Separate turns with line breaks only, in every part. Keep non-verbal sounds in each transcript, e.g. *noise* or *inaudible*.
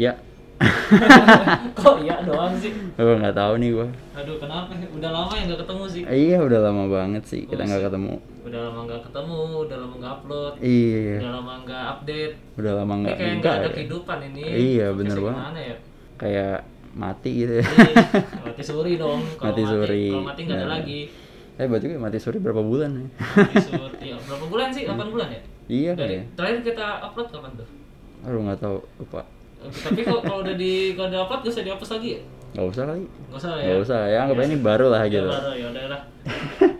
Ya,
*laughs* Kok iya doang sih?
gue nggak tahu nih gue.
Aduh kenapa? Udah lama ya nggak ketemu sih.
Iya, udah lama banget sih kita nggak ketemu.
Udah lama nggak ketemu, udah lama nggak upload,
Iya,
udah lama nggak update.
udah lama
Ini
nggak
kayak
enggak
nggak ada
ya.
kehidupan ini.
Iya,
Podcastnya
bener banget.
Gimana ya?
Kayak mati gitu ya.
Ini
*laughs*
mati suri dong. Kalau
Mati
mati
suri.
Kalau mati nggak ada
Bener.
lagi.
eh, berarti gue mati suri berapa bulan ya? *laughs*
Mati suri. Ya, berapa bulan sih? 8 bulan ya?
iya
Dari
kayaknya.
terakhir kita upload kapan tuh?
Aduh nggak tahu lupa.
Eh, Tapi kalau kalau udah di kalau udah upload gak usah dihapus lagi ya?
Gak usah kali.
Gak usah ya?
Gak usah ya, anggapnya ini baru lah
Ya
gitu.
baru ya udah
*laughs*
lah.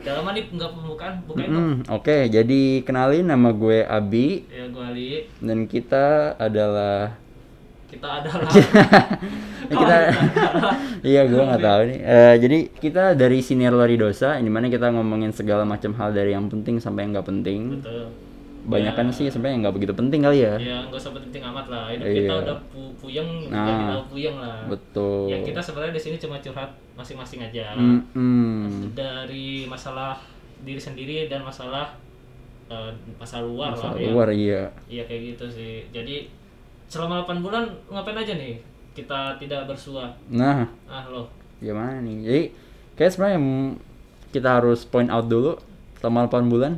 Udah lama nih nggak pembukaan, bukain dong.
Mm, Oke, jadi kenalin nama gue Abi
Ya gue Ali,
dan kita adalah
kita adalah
*laughs* Ya, kita
Oh,
*laughs* iya gue nggak tahu nih Eh, jadi kita dari senior lori dosa di mana kita ngomongin segala macam hal dari yang penting sampai yang nggak penting
betul.
banyak
Iya.
kan sih sebenarnya yang nggak begitu penting kali ya
Ya nggak usah penting amat lah. Hidup
Iya.
kita udah pu puyeng,
Nah.
kita udah puyeng lah.
betul
Ya kita sebenarnya di sini cuma curhat masing-masing aja.
Hmm. Mm-mm.
Dari masalah diri sendiri dan masalah eh, masalah luar
Masalah
lah. ya.
luar iya
Iya kayak gitu sih. Jadi selama 8 bulan ngapain aja nih? Kita tidak bersua.
nah
Ah loh.
gimana nih jadi kayak sebenarnya yang kita harus point out dulu selama 8 bulan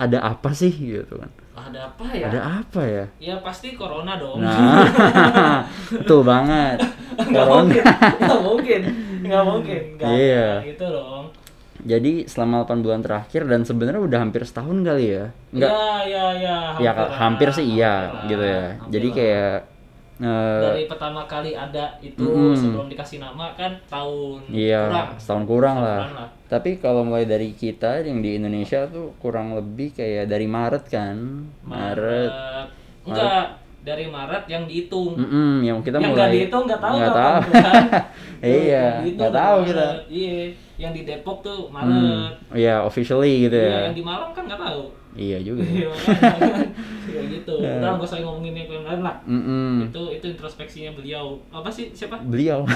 ada apa sih gitu kan
Ada apa ya?
ada apa ya
Ya pasti corona dong.
nah *laughs* betul banget
*laughs* nggak
Corona.
mungkin nggak mungkin nggak mungkin nggak ada
Iya.
gitu dong
Jadi selama 8 bulan terakhir dan sebenarnya udah hampir setahun kali ya. Enggak,
ya ya ya
ya hampir,
lah,
sih iya
hampir lah,
gitu ya.
hampir
Jadi
lah.
kayak eh,
dari pertama kali ada itu
Mm-mm.
sebelum dikasih nama kan tahun
iya
kurang
setahun kurang
Setahun
lah.
kurang lah.
Tapi kalau mulai dari kita yang di Indonesia tuh kurang lebih kayak dari Maret kan. Maret.
Maret. enggak dari Maret yang dihitung
Mm-mm, yang kita
yang
mulai.
nggak dihitung nggak tahu
Nggak
kapan
tahu.
bulan. Yang
*laughs* iya,
dihitung
nggak tahu
Maret.
kita.
iya yang di Depok tuh
Hmm,
Maret
Iya, officially gitu
Iya,
ya.
yang di Malang kan nggak
*laughs*
tahu
Iya
*laughs*
juga. ya.
Iya, makanya. ya gitu
Iya.
udah nggak usah ngomongin yang lain lah
Mm-mm.
itu itu introspeksinya beliau apa sih siapa
*laughs* Beliau. *laughs*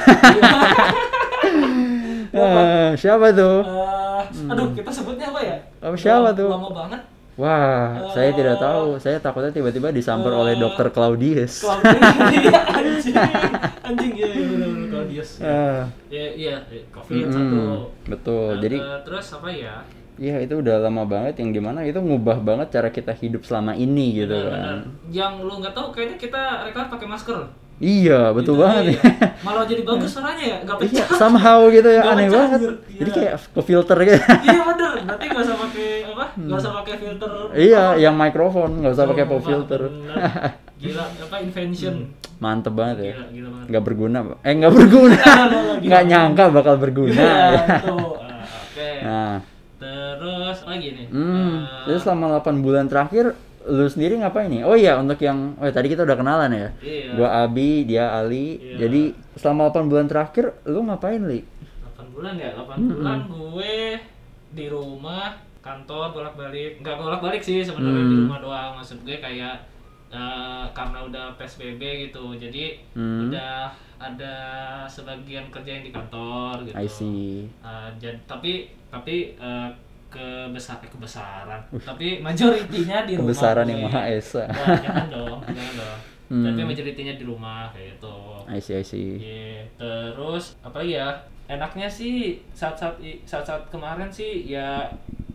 Eh, siapa tuh?
Eh, aduh kita sebutnya apa ya
Apa Hmm. siapa
Lama-
tuh?
lama banget
Wah, saya
Eh,
tidak tahu. Saya takutnya tiba-tiba disamper
eh,
oleh dokter Claudius. *laughs*
Claudius Iya, anjing anjing ya ya benar benar Claudius
Ah,
ya iya covid
mm-mm,
satu
betul.
Eh,
Hmm. Oh, Jadi,
eh, terus apa ya
ya itu udah lama banget yang dimana itu ngubah banget cara kita hidup selama ini gitu
Benar, benar.
kan.
yang lu nggak tahu kayaknya kita rekam pakai masker
Iya, betul
Gitu,
banget. *laughs*
iya. malah jadi bagus suaranya ya nggak
Iya,
pecah
somehow gitu ya,
Nggak
aneh
pecah,
banget.
anjir.
Jadi
Iya.
kayak ke filter gitu.
*laughs*
*laughs*
iya bener nanti nggak usah pakai apa nggak usah pakai filter
Hmm. iya, yang mikrofon nggak usah pakai pop
Sumpah,
filter. *laughs* Hmm.
bener. gila apa invention
Mantep banget ya.
gila gila banget
Nggak berguna, Pak. eh nggak
*laughs*
berguna.
Ah, lo lagi.
Nggak nyangka bakal berguna.
Iya,
ya.
tuh.
*laughs*
Ah, oke
Nah,
terus apa lagi nih
Hmm,
Eh,
jadi selama 8 bulan terakhir lu sendiri ngapain nih? Oh iya, untuk yang oh tadi kita udah kenalan ya.
iya
Gua Abi, dia Ali.
Iya.
Jadi selama 8 bulan terakhir lu ngapain, Li?
8 bulan ya 8
Hmm,
bulan gue di rumah kantor bolak balik nggak bolak balik sih sebenarnya di
Hmm.
rumah doang maksud gue kayak eh, karena udah psbb gitu jadi
Hmm.
udah ada sebagian kerja yang di kantor gitu
I see.
Uh, jad- tapi tapi uh, kebesar eh, kebesaran tapi majoritinya di rumah
Kebesaran
gue.
yang Maha Esa.
Wah, jangan dong jangan dong
*laughs* Hmm.
tapi majoritinya di rumah kayak gitu
I see, I see.
Iya. terus apa lagi ya enaknya sih saat saat saat saat kemarin sih ya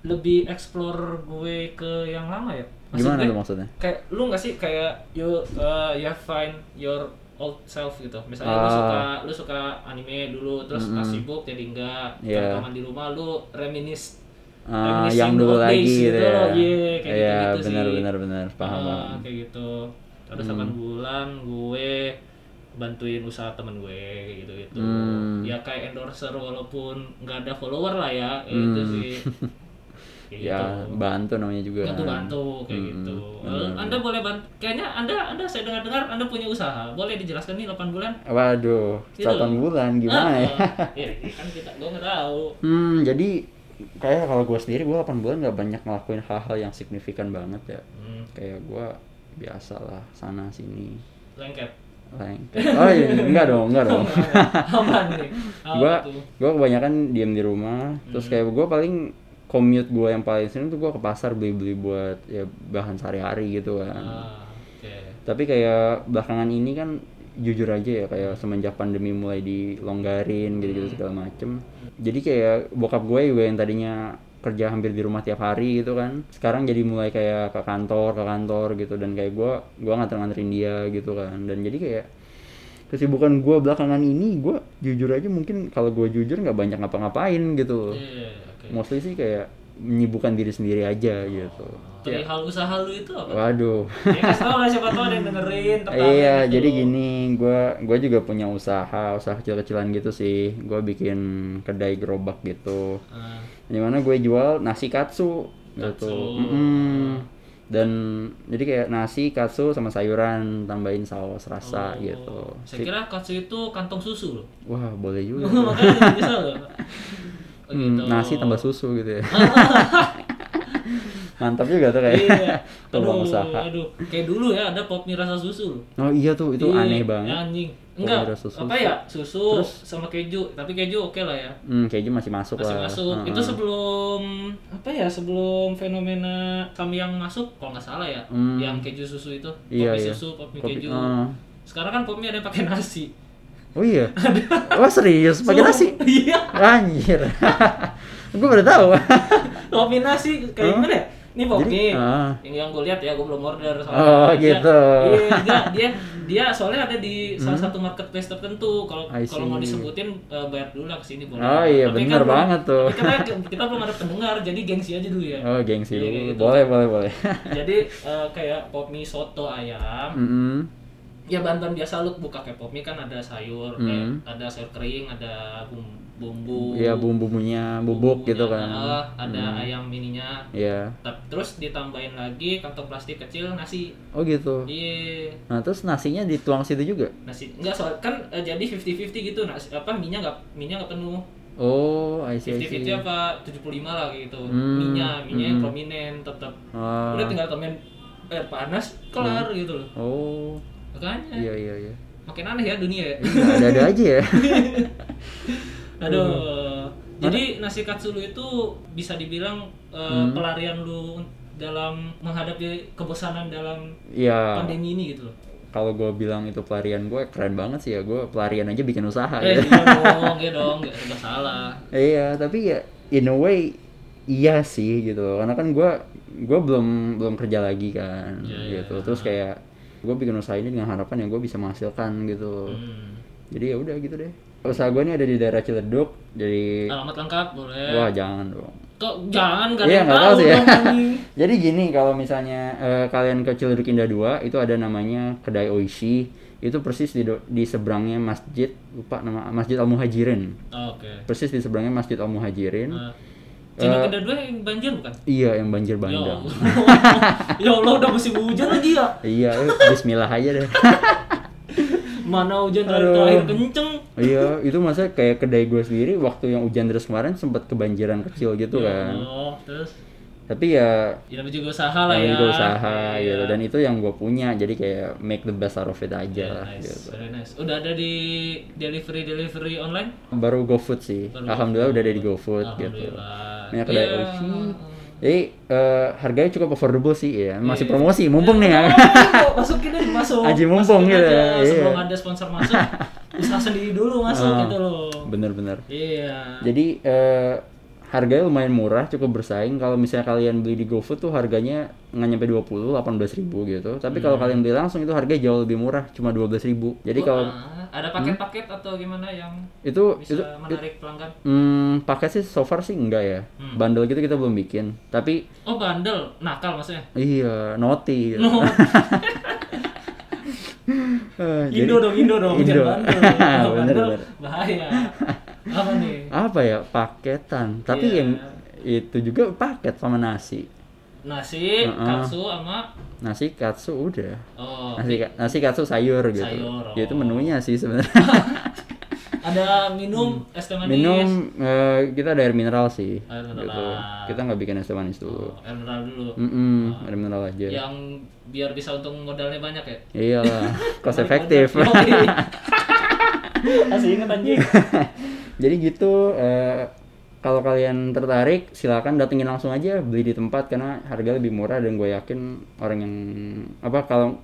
lebih explore gue ke yang lama ya Maksud
Gimana
gue,
tuh maksudnya?
kayak lu nggak sih kayak you uh, you find your old self gitu misalnya lu
Ah.
suka lu suka anime dulu terus pas
Mm-mm.
sibuk jadi enggak
Iya.
yeah. di rumah lu reminis
Ah,
reminiscing
yang
old
dulu
days
lagi gitu
loh.
ya.
Iya, kayak
Iya,
gitu,
benar
sih
benar benar paham.
Ah,
paham. Hmm.
kayak gitu terus 8 bulan gue bantuin usaha temen gue kayak gitu gitu
Hmm.
ya kayak endorser walaupun nggak ada follower lah ya kayak gitu
Hmm. *laughs*
sih Kayak
Ya,
gitu
bantu namanya juga. kan.
bantu bantu kayak
Mm-mm,
gitu
benar,
Eh, anda boleh bantu kayaknya anda anda saya dengar dengar anda punya usaha boleh dijelaskan nih 8 bulan
Waduh,
Gitu.
satu bulan gimana ya? *laughs*
Ah, ya kan kita gue nggak tahu
Hmm, jadi kayak kalau gue sendiri gue 8 bulan nggak banyak ngelakuin hal-hal yang signifikan banget ya.
hmm,
Kayak gue biasalah sana sini
lengket
lengket. Oh iya, enggak dong, enggak dong.
*laughs* aman
*laughs*
nih Apa
Gue
tuh? Hmm.
gua kebanyakan diem di rumah. Terus kayak gue paling commute gue yang paling sering tuh gue ke pasar beli-beli buat ya bahan sehari-hari gitu kan.
Ah, oke
Tapi kayak belakangan ini kan jujur aja ya kayak semenjak pandemi mulai dilonggarin gitu-gitu segala macem jadi kayak bokap gue juga yang tadinya kerja hampir di rumah tiap hari gitu kan sekarang jadi mulai kayak ke kantor ke kantor gitu dan kayak gue gue nganter-nganterin dia gitu kan dan jadi kayak kesibukan gue belakangan ini gue jujur aja mungkin kalau gue jujur nggak banyak ngapa-ngapain gitu
Iya, oke.
mostly sih kayak menyibukkan diri sendiri aja gitu
Perihal usaha lu itu
*laughs*
apa?
waduh
Ya kasih tau lah siapa tau ada yang dengerin tertarik
Iya,
gitu.
jadi gini, gua gua juga punya usaha, usaha kecil-kecilan gitu sih. Gua bikin kedai gerobak gitu.
Ah,
Dimana gue jual nasi katsu gitu.
Katsu.
Mm-mm. Dan jadi kayak nasi katsu sama sayuran tambahin saus rasa
oh.
gitu.
Saya kira katsu itu kantong susu loh.
Wah, boleh
*laughs*
juga.
Makanya bisa loh. Oh,
Hmm,
gitu.
nasi tambah susu
*laughs*
gitu ya. Mantap juga tuh kayak.
Iya.
*laughs* Peluang
Aduh,
usaha.
aduh. Kayak dulu ya ada pop mie rasa susu loh.
Oh iya tuh, itu
Iya,
aneh banget.
Anjing.
Pop
Enggak.
mie rasa susu.
Apa ya? Susu
Terus?
sama keju, tapi keju oke lah ya.
Hmm, kayaknya masih masuk
masih
lah.
masuk
Heeh.
itu sebelum apa ya sebelum fenomena kami yang masuk kalau nggak salah ya
Hmm.
yang keju susu itu pop
Iya,
mie
iya.
susu pop mie
Kopi- ah.
keju
heeh.
sekarang kan pop mie ada yang pakai nasi
Oh
*laughs*
iya. Wah serius, pakai
Sumpah,
nasi.
*laughs* iya
Anjir. *laughs* gue baru tahu. *laughs*
pop mie nasi kayak
Huh?
gimana ya ini pop
Jadi,
mie
ah.
yang, yang gue lihat ya gue belum order
Oh,
Dia-
gitu. Hmm?
iya
*laughs*
enggak, dia dia soalnya ada di salah satu marketplace tertentu kalau
I
kalau mau
see.
disebutin eh, bayar dulu lah kesini boleh
Oh, iya,
Tapi
bener
belum-
banget tuh.
tapi
*laughs*
kita, kita belum ada pendengar jadi gengsi aja dulu ya
Oh, gengsi
Iya, kayak
dulu.
gitu.
Boleh, boleh,
*laughs*
boleh.
jadi eh, kayak pop mie soto ayam
Mm-mm.
ya bantuan biasa lu buka kayak pop mie kan ada sayur
Hmm.
eh, ada sayur kering ada bum- bumbu
Iya, bumbu-bumbunya bubuk
bumbunya,
gitu kan.
eh, ada
Mm.
ayam mininya
Iya.
Ta- terus ditambahin lagi kantong plastik kecil nasi
Oh gitu.
iya
Nah, terus nasinya dituang situ juga.
nasi enggak soal kan eh, jadi 50-50 gitu nasi apa minyak nggak minyak nggak penuh
Oh, I see, I
50-50
see.
apa 75 lah kayak gitu
Hmm,
minyak minyak yang
hmm.
prominent tetap
Ah.
udah tinggal tambahin air panas kelar gitu loh
Oh,
makanya
iya iya iya.
makin aneh ya dunia ya *laughs*
Ada-ada aja ya. Hmm.
aduh jadi nasi katsu lu itu bisa dibilang eh,
Hmm.
pelarian lu dalam menghadapi kebosanan dalam
Iya.
pandemi ini gitu loh
Kalau gue bilang itu pelarian gue keren banget sih ya. Gue pelarian aja bikin usaha
eh
gitu.
iya dong iya dong nggak nggak salah
Iya, tapi ya in a way iya sih gitu. Karena kan gua gua belum belum kerja lagi kan
Iya,
gitu.
iya.
Terus kayak gua bikin usaha ini dengan harapan ya gua bisa menghasilkan gitu.
hmm.
Jadi ya udah gitu deh. Usaha gua ini ada di daerah Ciledug. Jadi
alamat lengkap boleh
wah jangan dong.
kok jangan gak
Iya
Eh. ada yang
nggak
tahu
tahu sih ya.
dong, anjing.
*laughs* Jadi gini kalau misalnya eh, kalian ke Ciledug Indah 2 itu ada namanya kedai Oishi itu persis di do- di seberangnya masjid lupa nama masjid Al Muhajirin
oke
persis di seberangnya masjid Al Muhajirin
Nah, Cina kedua dua yang banjir bukan
Iya, yang Eh. banjir
Ya
bandang.
Allah. *laughs* ya Allah udah musim hujan lagi ya.
Iya, eh, bismillah aja
*laughs*
deh.
Mana hujan
Aduh.
terakhir, terakhir kenceng.
iya, itu masa kayak kedai gue sendiri waktu yang hujan deras kemarin sempat kebanjiran kecil gitu kan.
Oh, terus
Tapi ya
ya namanya juga usaha lah
namanya
ya.
juga usaha
Iya.
gitu dan itu yang gue punya jadi kayak make the best out of it aja
Iya,
lah,
nice,
gitu.
very nice. Udah ada di delivery delivery online?
Baru GoFood sih.
Baru
Alhamdulillah udah ada di GoFood gitu.
Alhamdulillah.
Banyak kedai
Iya.
Oishi. Jadi eh, harganya cukup affordable sih ya. Masih
Iya.
promosi, mumpung nih ya.
Oh, masukin aja masuk.
Aji mumpung
Masukin
gitu,
aja.
iya.
Sebelum ada sponsor masuk,
*laughs*
usaha sendiri dulu masuk
Ah.
gitu loh.
*laughs* Bener-bener.
Iya.
Jadi eh, harganya lumayan murah, cukup bersaing. Kalau misalnya kalian beli di GoFood tuh harganya nggak nyampe 20, 18 ribu gitu. Tapi
Hmm.
kalau kalian beli langsung itu harganya jauh lebih murah, cuma 12 ribu. Jadi kalau
Ah, ada paket-paket atau gimana yang
itu itu
bisa menarik pelanggan?
hmm, pakai sih so far sih enggak ya.
Hmm.
Bandel gitu kita belum bikin. Tapi
Oh bandel, nakal maksudnya.
iya, naughty. gitu. *laughs*
No,
Eh, jadi
Indo dong, Indo dong,
Indo.
jangan
*laughs*
bandel. Kalau
Bener,
bandel,
bener.
bahaya. Apa nih?
apa ya? Paketan. Tapi
Iya.
yang itu juga paket sama nasi.
Nasi,
Heeh.
katsu sama
Nasi katsu udah.
oh,
nasi ka- nasi katsu sayur gitu.
Sayur, oh.
Ya, itu menunya sih
*laughs*
sebenarnya.
ada minum es teh manis.
Hmm. Minum eh, kita ada air mineral sih.
Air mineral.
Gitu. Kita nggak bikin es teh manis dulu.
Oh, air mineral dulu.
Hmm, Mm-mm,
Ah.
air mineral aja.
Yang biar bisa untung modalnya banyak ya. *laughs*
Iyalah, cost
Balik
efektif.
modal. Yoi. *laughs* Masih inget anjing.
*laughs* Jadi gitu eh, kalau kalian tertarik silakan datengin langsung aja beli di tempat karena harga lebih murah dan gue yakin orang yang apa kalau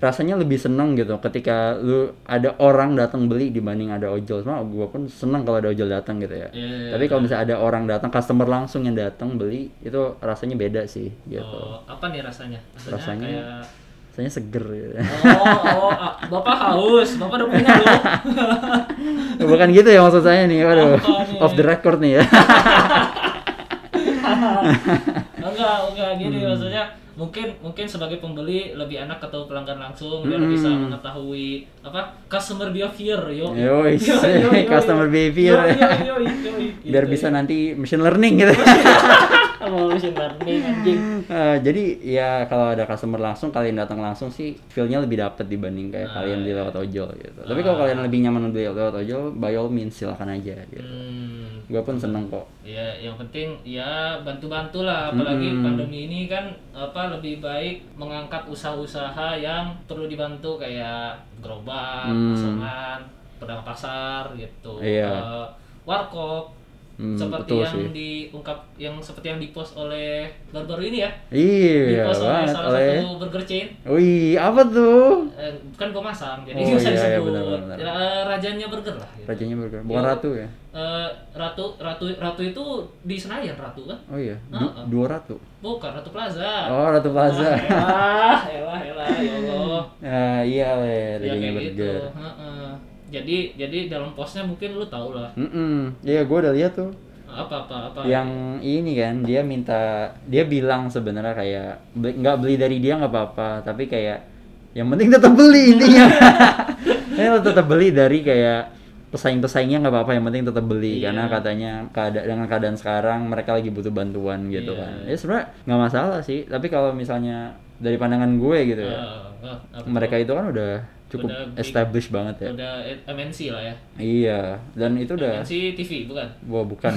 rasanya lebih seneng gitu ketika lu ada orang datang beli dibanding ada ojol sama gua pun seneng kalau ada ojol datang gitu ya
Iya,
tapi kalau misalnya ada orang datang customer langsung yang datang beli itu rasanya beda sih gitu
Oh, apa nih rasanya?
Rasanya-
kayak-
rasanya seger gitu. *laughs*
Oh, oh, ah, bapak haus, bapak udah punya
*laughs*
loh.
bukan gitu ya maksud saya nih aduh
Apa nih?
off the record nih ya
enggak, enggak gini
Hmm.
maksudnya. Mungkin mungkin sebagai pembeli lebih enak ketemu pelanggan langsung biar
Hmm.
bisa mengetahui apa customer behavior yo.
Yoi, customer behavior.
Gitu
biar
ya.
bisa nanti machine learning
*laughs*
gitu
Mau machine learning anjing.
Eh, jadi ya kalau ada customer langsung kalian datang langsung sih feel-nya lebih dapet dibanding kayak
Ah,
kalian
iya.
di lewat ojol gitu. Tapi kalau kalian lebih nyaman di lewat ojol, by all means silakan aja gitu.
Hmm,
Gue pun seneng kok.
Ya, yang penting ya bantu-bantu lah apalagi pandemi ini kan apa lebih baik mengangkat usaha-usaha yang perlu dibantu kayak gerobak, kosongan, pedagang pasar gitu.
Mm. Iya.
Eh, warkop
Hmm,
seperti
betul
yang
sih.
diungkap yang seperti yang dipost oleh baru-baru ini ya.
Iya
dipost oleh
banget
salah
oleh.
satu burger chain.
Wih, apa tuh?
Eh, kan gue masang
Oh,
jadi nggak usah
iya, iya,
disebut.
benar, benar, benar.
Ya, eh, rajanya burger lah gitu.
Rajanya burger. Bukan
Yo.
ratu ya?
Eh, ratu ratu ratu itu di Senayan ratu kan?
Oh iya, Du- dua ratu.
Bukan Ratu Plaza.
Oh, Ratu Plaza.
Ah, elah, elah, elah, ya Allah.
Nah, iya le,
Ya
rajanya
kayak gitu.
burger.
Heeh. Jadi jadi dalam posnya mungkin lu tau lah
Mm-mm. Iya, gue udah lihat tuh.
apa apa apa.
yang ini kan dia minta dia bilang sebenarnya kayak "Beli- nggak beli dari dia nggak apa-apa tapi kayak yang penting tetap beli
*laughs*
intinya Tapi lo tetap beli dari kayak pesaing-pesaingnya nggak apa-apa yang penting tetap beli
Iya.
karena katanya keada dengan keadaan sekarang mereka lagi butuh bantuan gitu
Iya.
kan ya sebenarnya nggak masalah sih tapi kalau misalnya dari pandangan gue gitu ya
Ah, ah, apa
mereka itu kan udah cukup
Udah big.
established banget ya
udah MNC lah ya.
iya dan itu udah
MNC TV bukan?
*laughs*
*laughs*
wah bukan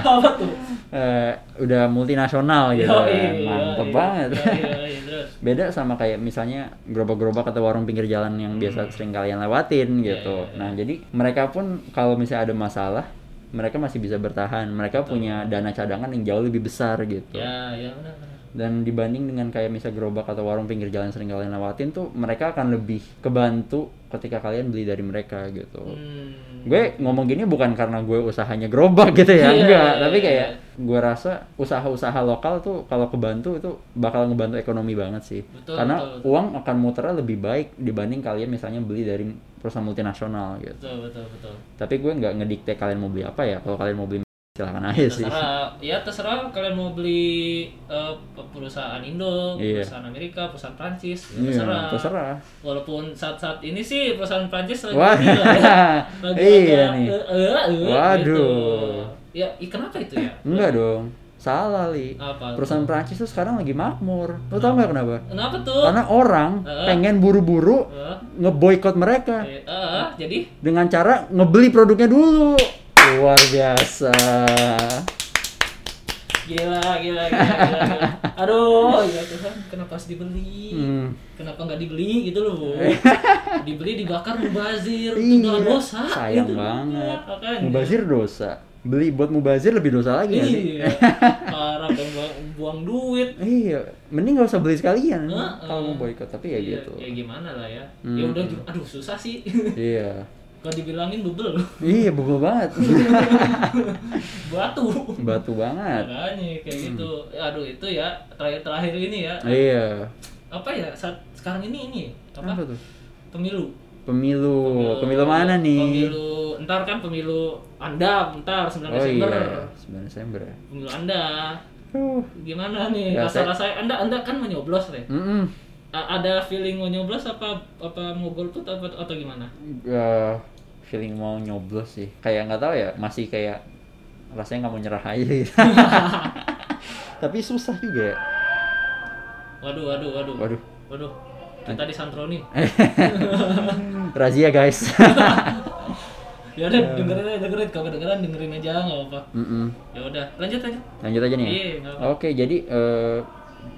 apa tuh?
eh udah multinasional gitu kan.
Yoi,
mantep
yoi.
banget
Yoi, yoi,
*laughs*
terus.
beda sama kayak misalnya gerobak-gerobak atau warung pinggir jalan
Hmm.
yang biasa sering kalian lewatin
Iya,
gitu nah jadi mereka pun kalau misalnya ada masalah mereka masih bisa bertahan mereka punya dana cadangan yang jauh lebih besar gitu
Ya, ya benar benar.
dan dibanding dengan kayak misalnya gerobak atau warung pinggir jalan sering kalian lewatin tuh mereka akan lebih kebantu ketika kalian beli dari mereka gitu
Hmm.
gue ngomong gini bukan karena gue usahanya gerobak gitu ya
Iya,
enggak
iya,
tapi
iya.
kayak gue rasa usaha-usaha lokal tuh kalau kebantu itu bakal ngebantu ekonomi banget sih
Betul,
karena
betul.
uang akan muternya lebih baik dibanding kalian misalnya beli dari perusahaan multinasional gitu
Betul betul betul.
tapi gue nggak ngedikte kalian mau beli apa ya kalau kalian mau beli silahkan aja Iya, sih
terserah ya terserah kalian mau beli eh, perusahaan Indo,
Iya.
perusahaan Amerika, perusahaan Prancis, ya
Iya,
terserah.
terserah.
Walaupun saat-saat ini sih perusahaan Prancis lagi
Wah,
gila
*laughs*
ya. Lagi
iya
agak,
nih.
eh, eh, eh, gitu.
Waduh.
Ya, ih, kenapa itu ya?
enggak dong salah li
Apa?
perusahaan Prancis tuh sekarang lagi makmur lo tau
Ah.
nggak kenapa
Kenapa tuh?
karena orang
Heeh.
pengen buru-buru
Eh,
ngeboikot mereka
eh, eh, jadi
dengan cara ngebeli produknya dulu luar biasa
gila gila gila gila.
*laughs*
gila. Aduh, ya Tuhan, kenapa harus dibeli?
Hmm.
Kenapa nggak dibeli gitu loh?
*laughs*
dibeli dibakar mubazir,
Iya,
itu doang dosa.
sayang
gitu.
banget
Ya, makanya.
mubazir dosa beli buat mubazir lebih dosa lagi ya, nggak sih *laughs*
Iya. Parah pengen buang, buang duit.
iya mending gak usah beli sekalian
Heeh.
kalau mau boikot tapi ya
Iya,
gitu Hmm.
Ya gimana lah ya. Ya udah ju- aduh susah sih. *laughs*
iya
Kalau dibilangin bebel,
iya bubble banget
*laughs* batu.
batu banget
Makanya kayak
Hmm.
gitu. Ya, Aduh itu ya terakhir-terakhir ini ya.
iya
Apa ya saat sekarang ini ini apa?
apa tuh
Pemilu.
pemilu pemilu mana nih
Pemilu entar kan pemilu Anda entar 9
oh
Desember.
iya 9 Desember ya
Pemilu Anda.
uh.
Gimana nih
Ya, saya-
rasa-rasanya Anda Anda kan menyoblos deh.
mm-mm.
A- ada feeling mau nyoblos apa apa mau golput apa atau gimana?
Eh, feeling mau nyoblos sih kayak nggak tahu ya masih kayak rasanya nggak mau nyerah aja gitu. tapi susah juga ya
Waduh, waduh, waduh.
Waduh.
Waduh. Kita di Santroni.
Eh. razia guys *laughs*
Ya
Eh.
udah dengerin aja, dengerin kalau kedengeran dengerin aja nggak apa-apa.
Mm-mm.
Ya udah, lanjut aja.
lanjut aja nih ya?
Iya, nggak
oke jadi eh,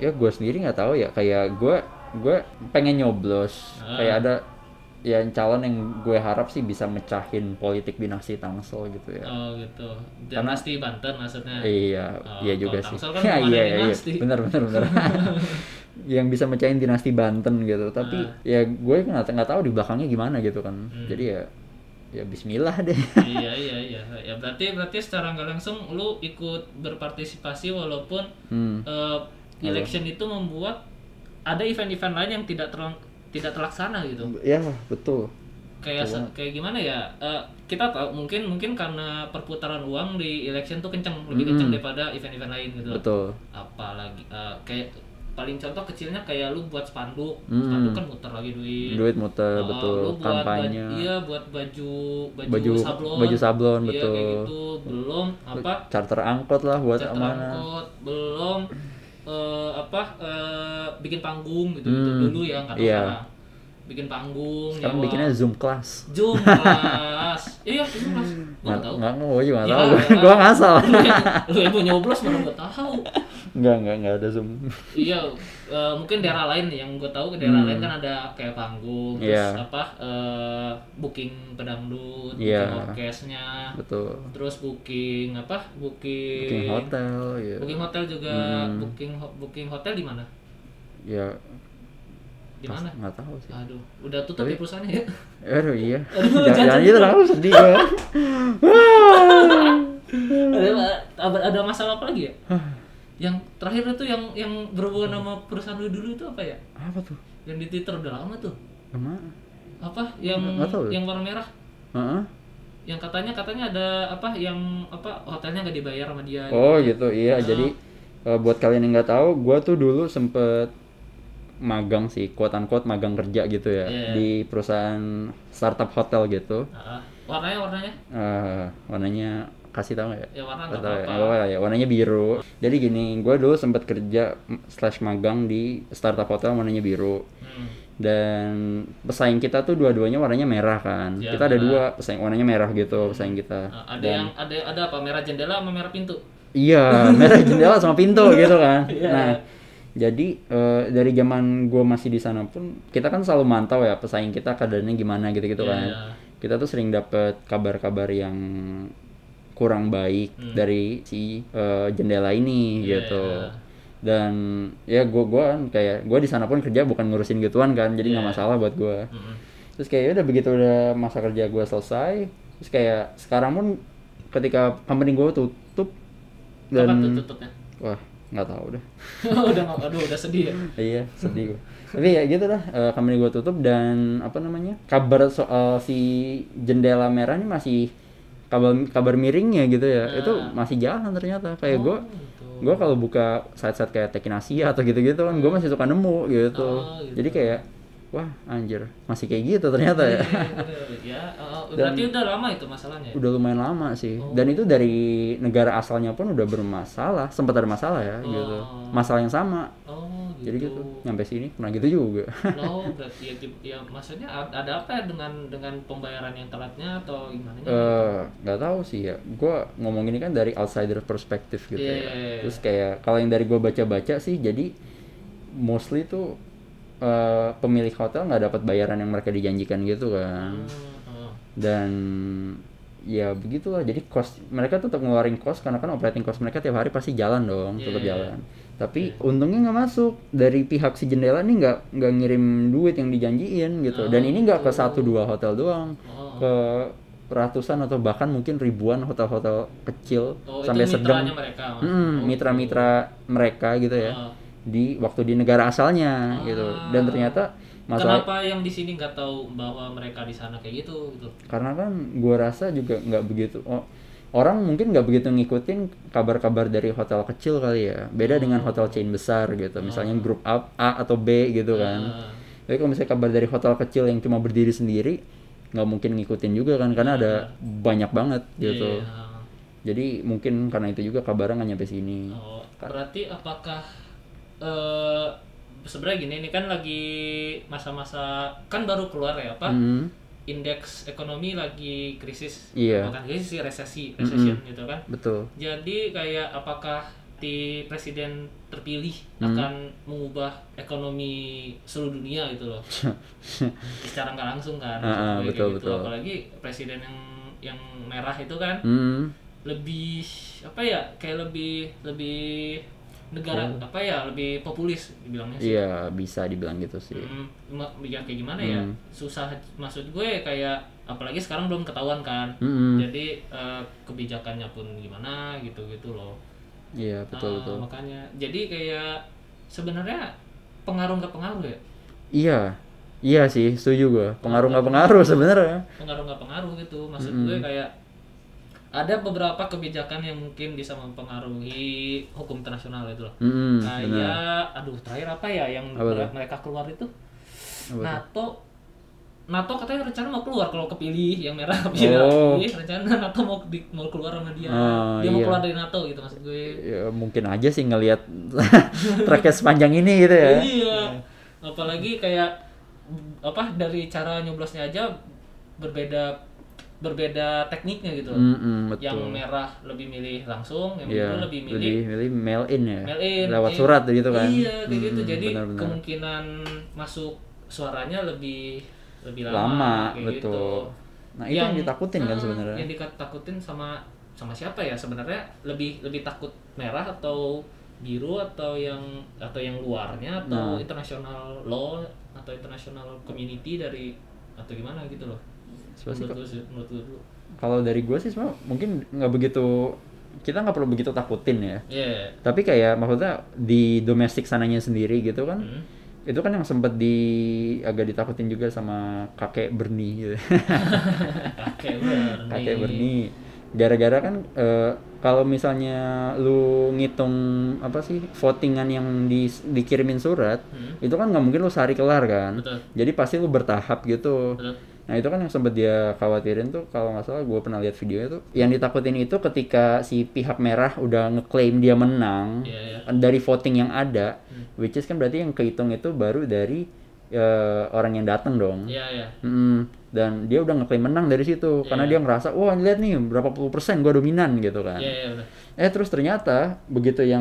ya gue sendiri nggak tahu ya kayak gue gue pengen nyoblos
Ah.
kayak ada ya calon yang gue harap sih bisa mecahin politik dinasti Tangsel gitu ya
Oh gitu. Dinasti Banten maksudnya.
Iya,
Oh,
iya
kalau
juga sih.
Tangsel
Ya,
kan
*laughs* iya,
bukan dari
iya, iya.
*laughs* Nasti.
Benar, benar, benar. *laughs* yang bisa mecahin dinasti Banten gitu tapi
Ah.
ya gue nggak nggak tahu di belakangnya gimana gitu kan
Hmm.
jadi ya ya Bismillah deh *laughs*
iya iya iya ya berarti berarti secara nggak langsung lu ikut berpartisipasi walaupun
Hmm.
eh, election itu membuat ada event-event lain yang tidak terlang- tidak terlaksana gitu
ya betul
kayak se- kayak gimana ya eh, kita tahu mungkin mungkin karena perputaran uang di election tuh kenceng lebih kenceng daripada event-event lain gitu loh.
betul
apalagi eh, kayak paling contoh kecilnya kayak lu buat spanduk
Hmm.
spanduk kan muter lagi duit
duit muter
Oh,
betul
lu buat
kampanye
baju, iya buat baju baju,
Baju-
sablon
baju sablon,
Iya, kayak
betul.
gitu belum apa
charter angkot lah buat
charter
mana
angkot, belum eh, apa eh, bikin panggung gitu
Hmm,
dulu ya nggak tahu
iya.
sekarang. bikin panggung
sekarang
nyewa
bikinnya zoom kelas
Zoom kelas iya Zoom kelas gua nggak
Hmm. nggak
tahu
nggak gue juga nggak
Iya,
tahu *laughs*
nggak tahu.
gue ngasal
*laughs* lu yang lu yang mau nyoblos mana gua tahu
nggak nggak nggak ada zoom
iya eh, mungkin daerah
Hmm.
lain yang gue tahu ke daerah lain kan ada kayak panggung terus
Iya.
apa eh, booking pedangdut
Iya.
booking orkesnya
betul
terus booking apa booking
booking hotel Hmm. ya
booking hotel juga booking ho- booking hotel di mana
ya
di mana
nggak tahu sih
aduh udah tutup ya perusahaannya ya *laughs*
Aduh iya,
Aduh,
jangan, jangan
jangan
gitu lah, aku sedih gue.
ada, ada- ada masalah apa lagi ya yang terakhir itu yang yang berhubungan sama perusahaan lu dulu itu apa ya
Apa tuh?
yang di twitter udah lama tuh
Kemana?
apa yang
Nggak tahu ya.
yang warna merah
Heeh.
yang katanya katanya ada apa yang apa hotelnya nggak dibayar sama dia
Oh gitu, iya. Jadi eh, buat kalian yang nggak tahu, gue tuh dulu sempet magang sih, quote unquote magang kerja gitu ya
Iya.
di perusahaan startup hotel gitu.
Ah, ah. warnanya warnanya
Eh, warnanya kasih tahu nggak ya?
ya warna nggak
Atau ya,
apa-apa
nggak apa-apa ya, warnanya biru. Jadi gini, gue dulu sempet kerja slash magang di startup hotel warnanya biru.
Hmm.
dan pesaing kita tuh dua-duanya warnanya merah kan.
Iya,
kita ada
merah.
dua pesaing warnanya merah gitu pesaing kita.
Ah, ada yang ada ada apa merah jendela sama merah pintu
Iya, *laughs* merah jendela sama pintu
*laughs*
gitu kan.
Iya,
Nah, jadi eh, dari zaman gue masih di sana pun kita kan selalu mantau ya pesaing kita keadaannya gimana gitu-gitu
Iya,
kan.
iya.
Kita tuh sering dapet kabar-kabar yang kurang baik dari si eh, jendela ini
Hmm. Iya,
gitu.
iya.
Dan ya gue gua kan kayak gue di sana pun kerja bukan ngurusin gituan kan, jadi
Iya.
nggak masalah buat gue.
Mm-mm.
terus kayak udah begitu udah masa kerja gue selesai terus kayak sekarang pun ketika company gue tutup
kapan tuh
dan
tutupnya *laughs*
wah nggak tahu udah
udah nggak- aduh udah sedih ya
iya sedih gue tapi ya gitu lah eh, company gue tutup dan apa namanya kabar soal si jendela merah ini masih kabar kabar miringnya gitu
Ah.
ya itu masih jalan ternyata kayak
Oh,
gue
gitu. Hmm,
gue kalau buka site-site kayak Tekin Asia atau gitu-gitu kan gue masih suka nemu gitu.
Oh, gitu.
jadi kayak wah anjir masih kayak gitu ternyata ya
ya ah, ah. berarti udah lama itu masalahnya ya?
udah lumayan lama sih
Oh.
dan itu dari negara asalnya pun udah bermasalah sempat ada masalah ya gitu masalah yang sama
oh gitu
jadi gitu nyampe sini pernah gitu juga *laughs*
no berarti ya, gi- ya maksudnya a- ada apa ya dengan dengan pembayaran yang telatnya atau gimana ya?
Eh, nggak tahu sih ya gue ngomong ini kan dari outsider perspektif gitu ya
Iya, iya, iya.
terus kayak kalau yang dari gue baca-baca sih jadi mostly tuh eh, pemilik hotel nggak dapat bayaran yang mereka dijanjikan gitu kan
Hmm, ah.
dan ya begitulah jadi cost mereka tetap ngeluarin cost karena kan operating cost mereka tiap hari pasti jalan dong tetap
Iya.
jalan tapi untungnya nggak masuk dari pihak si jendela nih nggak nggak ngirim duit yang dijanjiin gitu dan ini nggak ke satu dua hotel doang
Oh.
ke ratusan atau bahkan mungkin ribuan hotel-hotel kecil
Oh,
sampai
itu
sedang
mitranya mereka. Mas.
Mm,
Oh,
mitra-mitra mereka gitu ya
Ah.
di waktu di negara asalnya gitu dan ternyata masalah
Kenapa yang di sini nggak tahu bahwa mereka di sana kayak gitu gitu?
karena kan gua rasa juga nggak begitu oh, orang mungkin nggak begitu ngikutin kabar-kabar dari hotel kecil kali ya beda
Hmm.
dengan hotel chain besar gitu misalnya grup A, A atau B gitu kan
Ah.
tapi kalau misalnya kabar dari hotel kecil yang cuma berdiri sendiri nggak mungkin ngikutin juga kan karena ada banyak banget gitu
Hmm. Iya.
jadi mungkin karena itu juga kabarnya nggak nyampe sini
Oh, berarti apakah eh sebenarnya gini ini kan lagi masa-masa kan baru keluar ya apa?
Hmm.
Indeks ekonomi lagi krisis.
Iya.
Bukan krisis sih resesi, recession gitu kan.
betul
Jadi kayak apakah di presiden terpilih
Hmm.
akan mengubah ekonomi seluruh dunia gitu
*laughs*
loh. Secara nggak langsung kan.
Ah, ah,
Kayak
betul,
gitu.
betul.
Apalagi presiden yang yang merah itu kan
Hmm.
lebih apa ya kayak lebih lebih negara apa ya lebih populis dibilangnya sih.
Iya, bisa dibilang gitu sih.
Hmm, ma- ya kayak gimana ya?
Hmm.
Susah maksud gue kayak apalagi sekarang belum ketahuan kan.
Mm-mm.
Jadi eh, kebijakannya pun gimana gitu-gitu loh.
Iya, betul
Ah,
betul.
Makanya jadi kayak sebenarnya pengaruh nggak pengaruh ya?
Iya. Iya sih, setuju gua. Pengaruh nggak pengaruh sebenarnya.
Pengaruh nggak pengaruh gitu. Maksud gue kayak ada beberapa kebijakan yang mungkin bisa mempengaruhi hukum internasional itu loh.
Mm-mm, Mm, benar.
kayak aduh terakhir apa ya yang
Apa
mere-
tuh?
mereka keluar itu
Apa
NATO NATO katanya rencana mau keluar kalau kepilih yang merah bilang
Oh.
"Ih, rencana NATO mau di- mau keluar sama dia
Ah,
dia mau
iya.
keluar dari NATO gitu maksud gue
Ya, mungkin aja sih ngelihat *laughs* tracknya sepanjang ini gitu ya.
iya apalagi kayak b- apa dari cara nyoblosnya aja berbeda berbeda tekniknya gitu loh.
Mm-mm, Hmm, betul.
yang merah lebih milih langsung yang
Iya,
biru lebih milih
lebih milih mail in ya.
mail in,
Lewat
iya.
surat gitu kan.
iya kayak gitu
Mm-mm,
jadi
benar-benar.
kemungkinan masuk suaranya lebih lebih lama,
lama,
kayak gitu.
betul. Nah, itu yang, ditakutin kan
eh,
sebenarnya.
yang ditakutin sama sama siapa ya sebenarnya lebih lebih takut merah atau biru atau yang atau yang luarnya atau
Nah.
international law atau international community dari atau gimana gitu loh
Sebenarnya
menurut lu sih- menurut lu dulu
Kalau dari gua sih sebenarnya mungkin nggak begitu kita nggak perlu begitu takutin ya.
Iya.
Tapi kayak maksudnya di domestik sananya sendiri gitu kan.
Hmm.
Itu kan yang sempet di agak ditakutin juga sama kakek Bernie gitu. *laughs*
kakek Bernie
kakek Bernie. Gara-gara kan eh, kalau misalnya lu ngitung apa sih votingan yang di- dikirimin surat,
Hmm.
itu kan nggak mungkin lu sehari kelar kan.
Betul.
Jadi pasti lu bertahap gitu.
Betul.
Nah itu kan yang sempet dia khawatirin tuh kalau nggak salah gue pernah lihat videonya tuh yang ditakutin itu ketika si pihak merah udah ngeklaim dia menang
Iya, Hmm. iya.
dari voting yang ada, which is kan berarti yang kehitung itu baru dari eh, orang yang datang dong.
iya iya
Mm, dan dia udah ngeklaim menang dari situ karena dia ngerasa wah lihat nih berapa puluh persen gue dominan gitu kan.
iya iya bener.
Eh terus ternyata begitu yang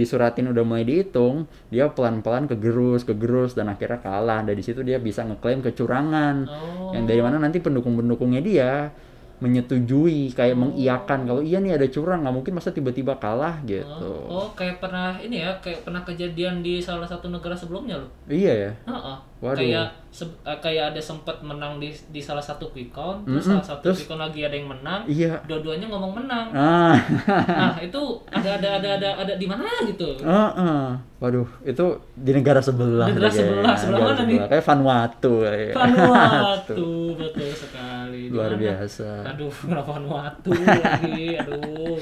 disuratin udah mulai dihitung, dia pelan-pelan kegerus, kegerus dan akhirnya kalah. Dari situ dia bisa ngeklaim kecurangan.
oh
Yang dari mana nanti pendukung-pendukungnya dia menyetujui kayak mengiakan kalau iya nih ada curang nggak mungkin masa tiba-tiba kalah gitu.
Oh, kayak pernah ini ya, kayak pernah kejadian di salah satu negara sebelumnya loh.
Iya ya.
Heeh.
Waduh.
Kayak se- eh, kayak ada sempat menang di di salah satu quick count, terus
Mm-mm,
salah satu
terus-
quick count lagi ada yang menang.
Iya.
Dua-duanya ngomong
*laughs*
menang.
Ah.
Nah, itu ada ada ada ada ada di mana
*laughs*
gitu.
Heeh. Waduh, itu di negara sebelah.
Negara
deh kayaknya.
sebelah, sebelah
Negara
mana nih?
Kayak Vanuatu. kayak. *laughs*
Vanuatu, betul sekali. Di
Luar
mana?
biasa.
Aduh, *laughs* kenapa Vanuatu lagi? Aduh.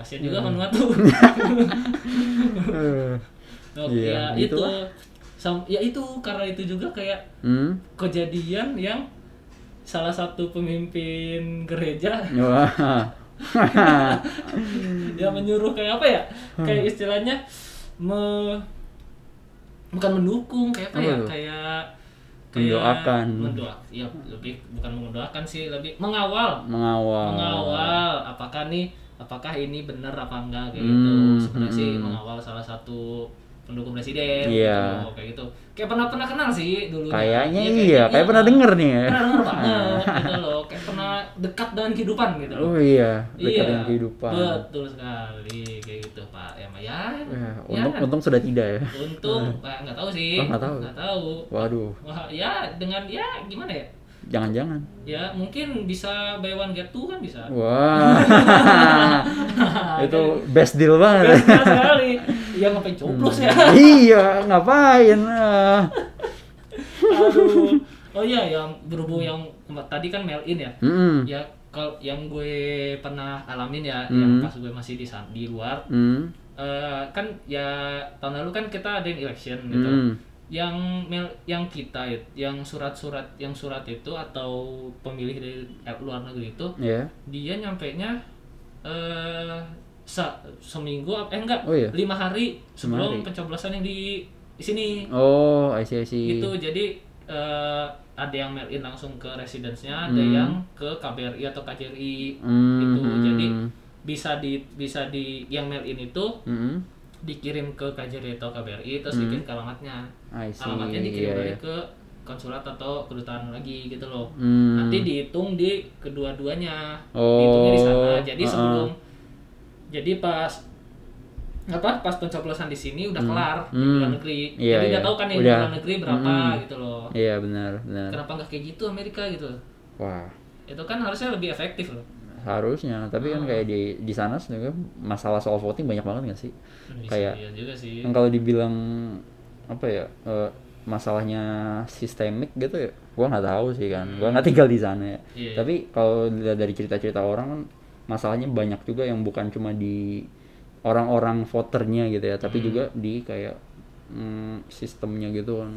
Kasihan
Iya.
juga *laughs* Vanuatu.
Eh.
Oh,
Iya,
ya, itu.
gitulah.
Sam- ya itu karena itu juga kayak
hmm. *laughs*
kejadian yang salah satu pemimpin gereja
Wah. Hmm.
dia menyuruh kayak apa ya kayak istilahnya me- bukan mendukung kayak apa
Apa
ya
tuh?
kayak
Mendoakan.
mendoakan ya lebih bukan mendoakan sih lebih mengawal
Mengawal.
mengawal apakah nih apakah ini benar apa enggak kayak
Hmm,
gitu sebenarnya sih
hmm.
mengawal salah satu pendukung presiden
Iya.
gitu, kayak gitu kayak pernah pernah kenal sih dulu
Kayaknya iya, kayak pernah denger nih ya.
pernah denger banget gitu loh kayak pernah dekat dengan kehidupan gitu loh
Oh iya, dekat dengan kehidupan.
betul sekali kayak gitu pak ya Pak. ya,
Eh,
ya.
untung, untung sudah tidak ya.
untung Pak, nggak tahu sih
Oh, nggak tahu.
nggak tahu
Waduh,
wah ya dengan ya gimana ya
jangan-jangan.
ya mungkin bisa buy one get two kan bisa *laughs*
Wah. Oh. itu best deal
*laughs*
banget.
Gagal sekali. Ya ngapain coblos ya?
*laughs* iya, ngapain? Ah.
Aduh. Oh iya, yang berhubung yang tadi kan mail in ya.
Mm-mm.
Ya kalau yang gue pernah alamin ya, yang
Hmm.
pas gue masih di san- di luar,
Mm.
eh, kan ya tahun lalu kan kita ada yang election gitu.
Mm.
Yang mail, yang kita, it- yang surat-surat, yang surat itu atau pemilih dari luar negeri itu,
Ya.
dia nyampe nya eh sa- seminggu ap- eh enggak
Oh iya?
lima hari sebelum
hari.
pencoblosan yang di di sini
Oh, I see, I see.
gitu jadi eh, ada yang mail in langsung ke residence-nya ada
Hmm.
yang ke KBRI atau KJRI
Mm,
gitu
mm.
jadi bisa di bisa di yang mail in itu
Mm-mm.
dikirim ke KJRI atau KBRI terus dikirim ke alamatnya
I see.
alamatnya dikirim
Hmm. iya,
balik
iya.
ke konsulat atau kedutaan lagi gitu loh
Hmm.
nanti dihitung di kedua-duanya
Oh,
dihitungnya di sana jadi
uh-uh.
sebelum jadi pas apa pas pencoblosan di sini udah kelar di
Hmm.
luar negeri
Iya,
jadi udah
iya.
tahu kan yang di
Udah.
luar negeri berapa
Mm-mm.
gitu loh
Iya benar benar.
kenapa nggak kayak gitu Amerika gitu
Wah
itu kan harusnya lebih efektif loh
harusnya tapi
Ah.
kan kayak di di sana sebenarnya masalah soal voting banyak banget nggak sih?
Bisa,
Kayak-
iya juga sih
Yang kalau dibilang apa ya eh, masalahnya sistemik gitu ya gua nggak tahu sih kan gua nggak tinggal di sana ya
Hmm. Iya, iya.
tapi kalau dilihat dari cerita-cerita orang kan masalahnya banyak juga yang bukan cuma di orang-orang voternya gitu ya
Hmm.
tapi juga di kayak mm, sistemnya gitu kan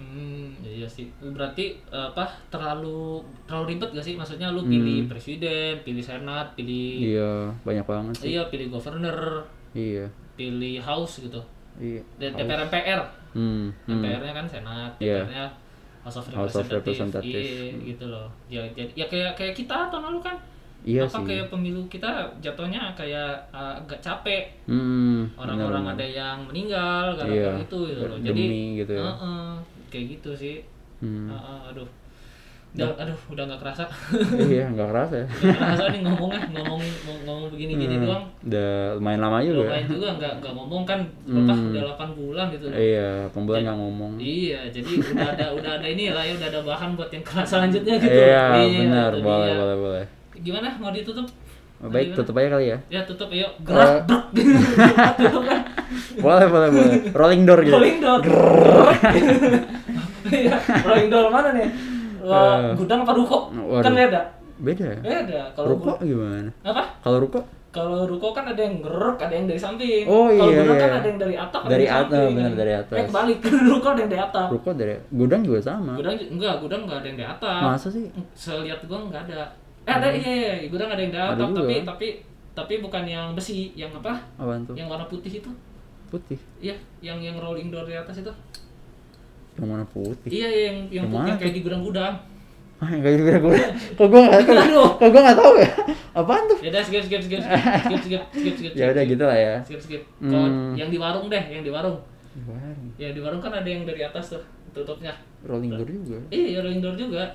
Hmm, iya sih. Berarti eh, apa terlalu terlalu ribet gak sih? Maksudnya lu pilih
Hmm.
presiden, pilih senat, pilih
iya banyak banget sih
iya pilih governor,
iya
pilih house gitu.
iya
Dan DPR MPR.
hmm, hmm.
MPR-nya kan senat,
Iya.
DPR-nya House of
House of Hmm.
Representatives.
Representative.
Iya, gitu loh. Ya jadi ya kayak kayak kita tahun lalu kan.
iya
apa
sih
kayak pemilu kita jatuhnya kayak eh, agak capek.
Hmm,
Orang-orang ada
benar-benar.
yang meninggal
Iya.
gara-gara itu gitu loh. Jadi
demi gitu ya
Heeh, kayak gitu sih.
Hmm.
Ah, ah, aduh. Udah, aduh, udah nggak kerasa. *laughs*
iya nggak kerasa ya
Nggak kerasa nih ngomongnya, ngomong ngomong- ngomong begini-gini
Hmm,
doang.
udah lumayan lama juga ya.
Lumayan juga nggak nggak ngomong kan
Hmm.
apa udah 8 bulan gitu.
Iya, pembulan nggak ngomong.
Iya, jadi udah ada udah ada ini lah ya, udah ada bahan buat yang kerasa selanjutnya gitu.
Iya,
Iya,
benar,
itu
boleh,
dia.
boleh, boleh.
Gimana mau ditutup?
Baik, tutup aja kali ya.
Ya tutup yuk. Gerak brek. *laughs* tutup kan.
Boleh, boleh,
*laughs*
boleh. Rolling door gitu.
Rolling door. Iya, rolling door mana nih? Wah, gudang apa ruko? Kan
Eh. waduh.
beda.
Beda ya?
Beda. Eh, Kalau
Ruko gimana?
apa?
Kalau ruko
Kalau ruko kan ada yang geruk, ada yang dari samping.
Oh,
Kalau
iya,
gudang kan
iya.
ada yang dari atap,
Dari
ada yang
atap,
samping.
benar, dari atas.
Eh, balik *laughs* ruko ada yang dari atap.
ruko dari gudang juga sama.
Gudang ju- enggak, gudang enggak ada yang dari atap.
Masa sih?
Selihat gua enggak ada. Eh, ada iya, iya, iya, gudang ada yang dari
Ada
atap,
juga.
tapi tapi tapi bukan yang besi, yang apa?
Apaan tuh?
Yang warna putih itu.
Putih.
Iya, yang yang rolling door di atas itu.
Yang mana *laughs* putih?
Iya, yang
Yang
yang putih
mana
yang kayak di gudang-gudang.
Ah, kayak gitu
*laughs*
gue. Kok gue nggak tahu?
Aduh.
Kok gue nggak tahu ya? Apaan tuh?
Ya udah skip skip
*laughs*
skip skip skip skip skip skip.
Ya udah gitu lah ya.
Skip skip. Kalau
Hmm.
yang di warung deh, yang di warung.
Warung.
Ya di warung kan ada yang dari atas tuh tutupnya.
Rolling door juga.
Iya, rolling door juga.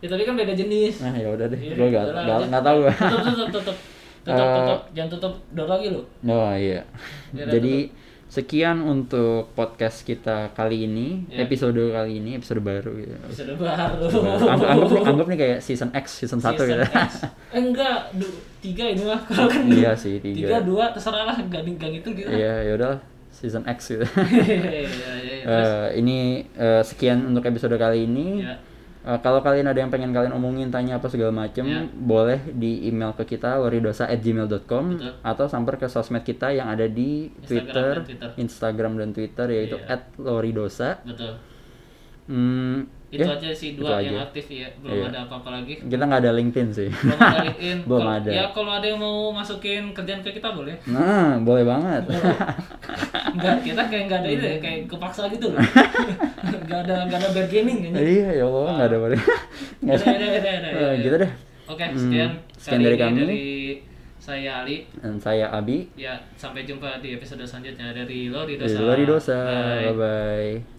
Ya tapi kan beda jenis.
Nah, ya udah deh.
Iya,
Gue nggak
udah lah,
nggak-
lanjut.
nggak tahu gue.
Tutup, tutup, tutup. Tutup,
Eh,
tutup. Jangan tutup door lagi lu.
Oh *laughs* iya.
Ya,
Jadi sekian untuk podcast kita kali ini,
Ya.
episode kali ini, episode baru
*laughs*
gitu.
Bisa baru.
Anggap, anggap, nih, anggap nih kayak season X, season 1
Season
gitu.
X. Eh, enggak, du, tiga ini mah kalau kan
Iya sih,
tiga
tiga.
dua terserah lah gang gang itu gitu.
*laughs* Iya, ya udahlah, season X gitu.
Iya, iya, *laughs* iya. Terus,
*laughs* Eh, ini eh, sekian untuk episode kali ini.
ya.
Eh, kalau kalian ada yang pengen kalian omongin, tanya apa segala macem,
Ya.
boleh di email ke kita loridosa@gmail.com
Betul.
atau samper ke sosmed kita yang ada di
Instagram
Twitter,
dan Twitter.
Instagram dan Twitter yaitu
Iya.
@loridosa.
Betul.
Hmm,
Itu
ya.
aja sih dua
itu
yang
aja.
aktif ya.
Iya.
Belum ada apa-apa
*laughs*
lagi.
Kita nggak ada LinkedIn sih.
Belum ada LinkedIn.
*laughs* Belum
Kalau-
ada.
Ya kalau ada yang mau masukin kerjaan ke kita boleh.
Nah, boleh banget.
Enggak, kita kayak enggak ada
Iya.
itu ya, kayak kepaksa gitu
*laughs*
loh. Enggak ada enggak ada bargaining kayaknya.
iya, ya Allah, nggak ada boleh. Nggak ada.
Udah, udah, udah, udah,
Eh,
udah.
gitu deh.
Iya. Oke, sekian.
sekian
kali
dari
ini
kami.
Dari saya Ali.
*laughs* Dan saya Abi
Ya, sampai jumpa di episode selanjutnya dari Lori
dari
Dosa.
Lori Dosa.
Bye.
Bye bye.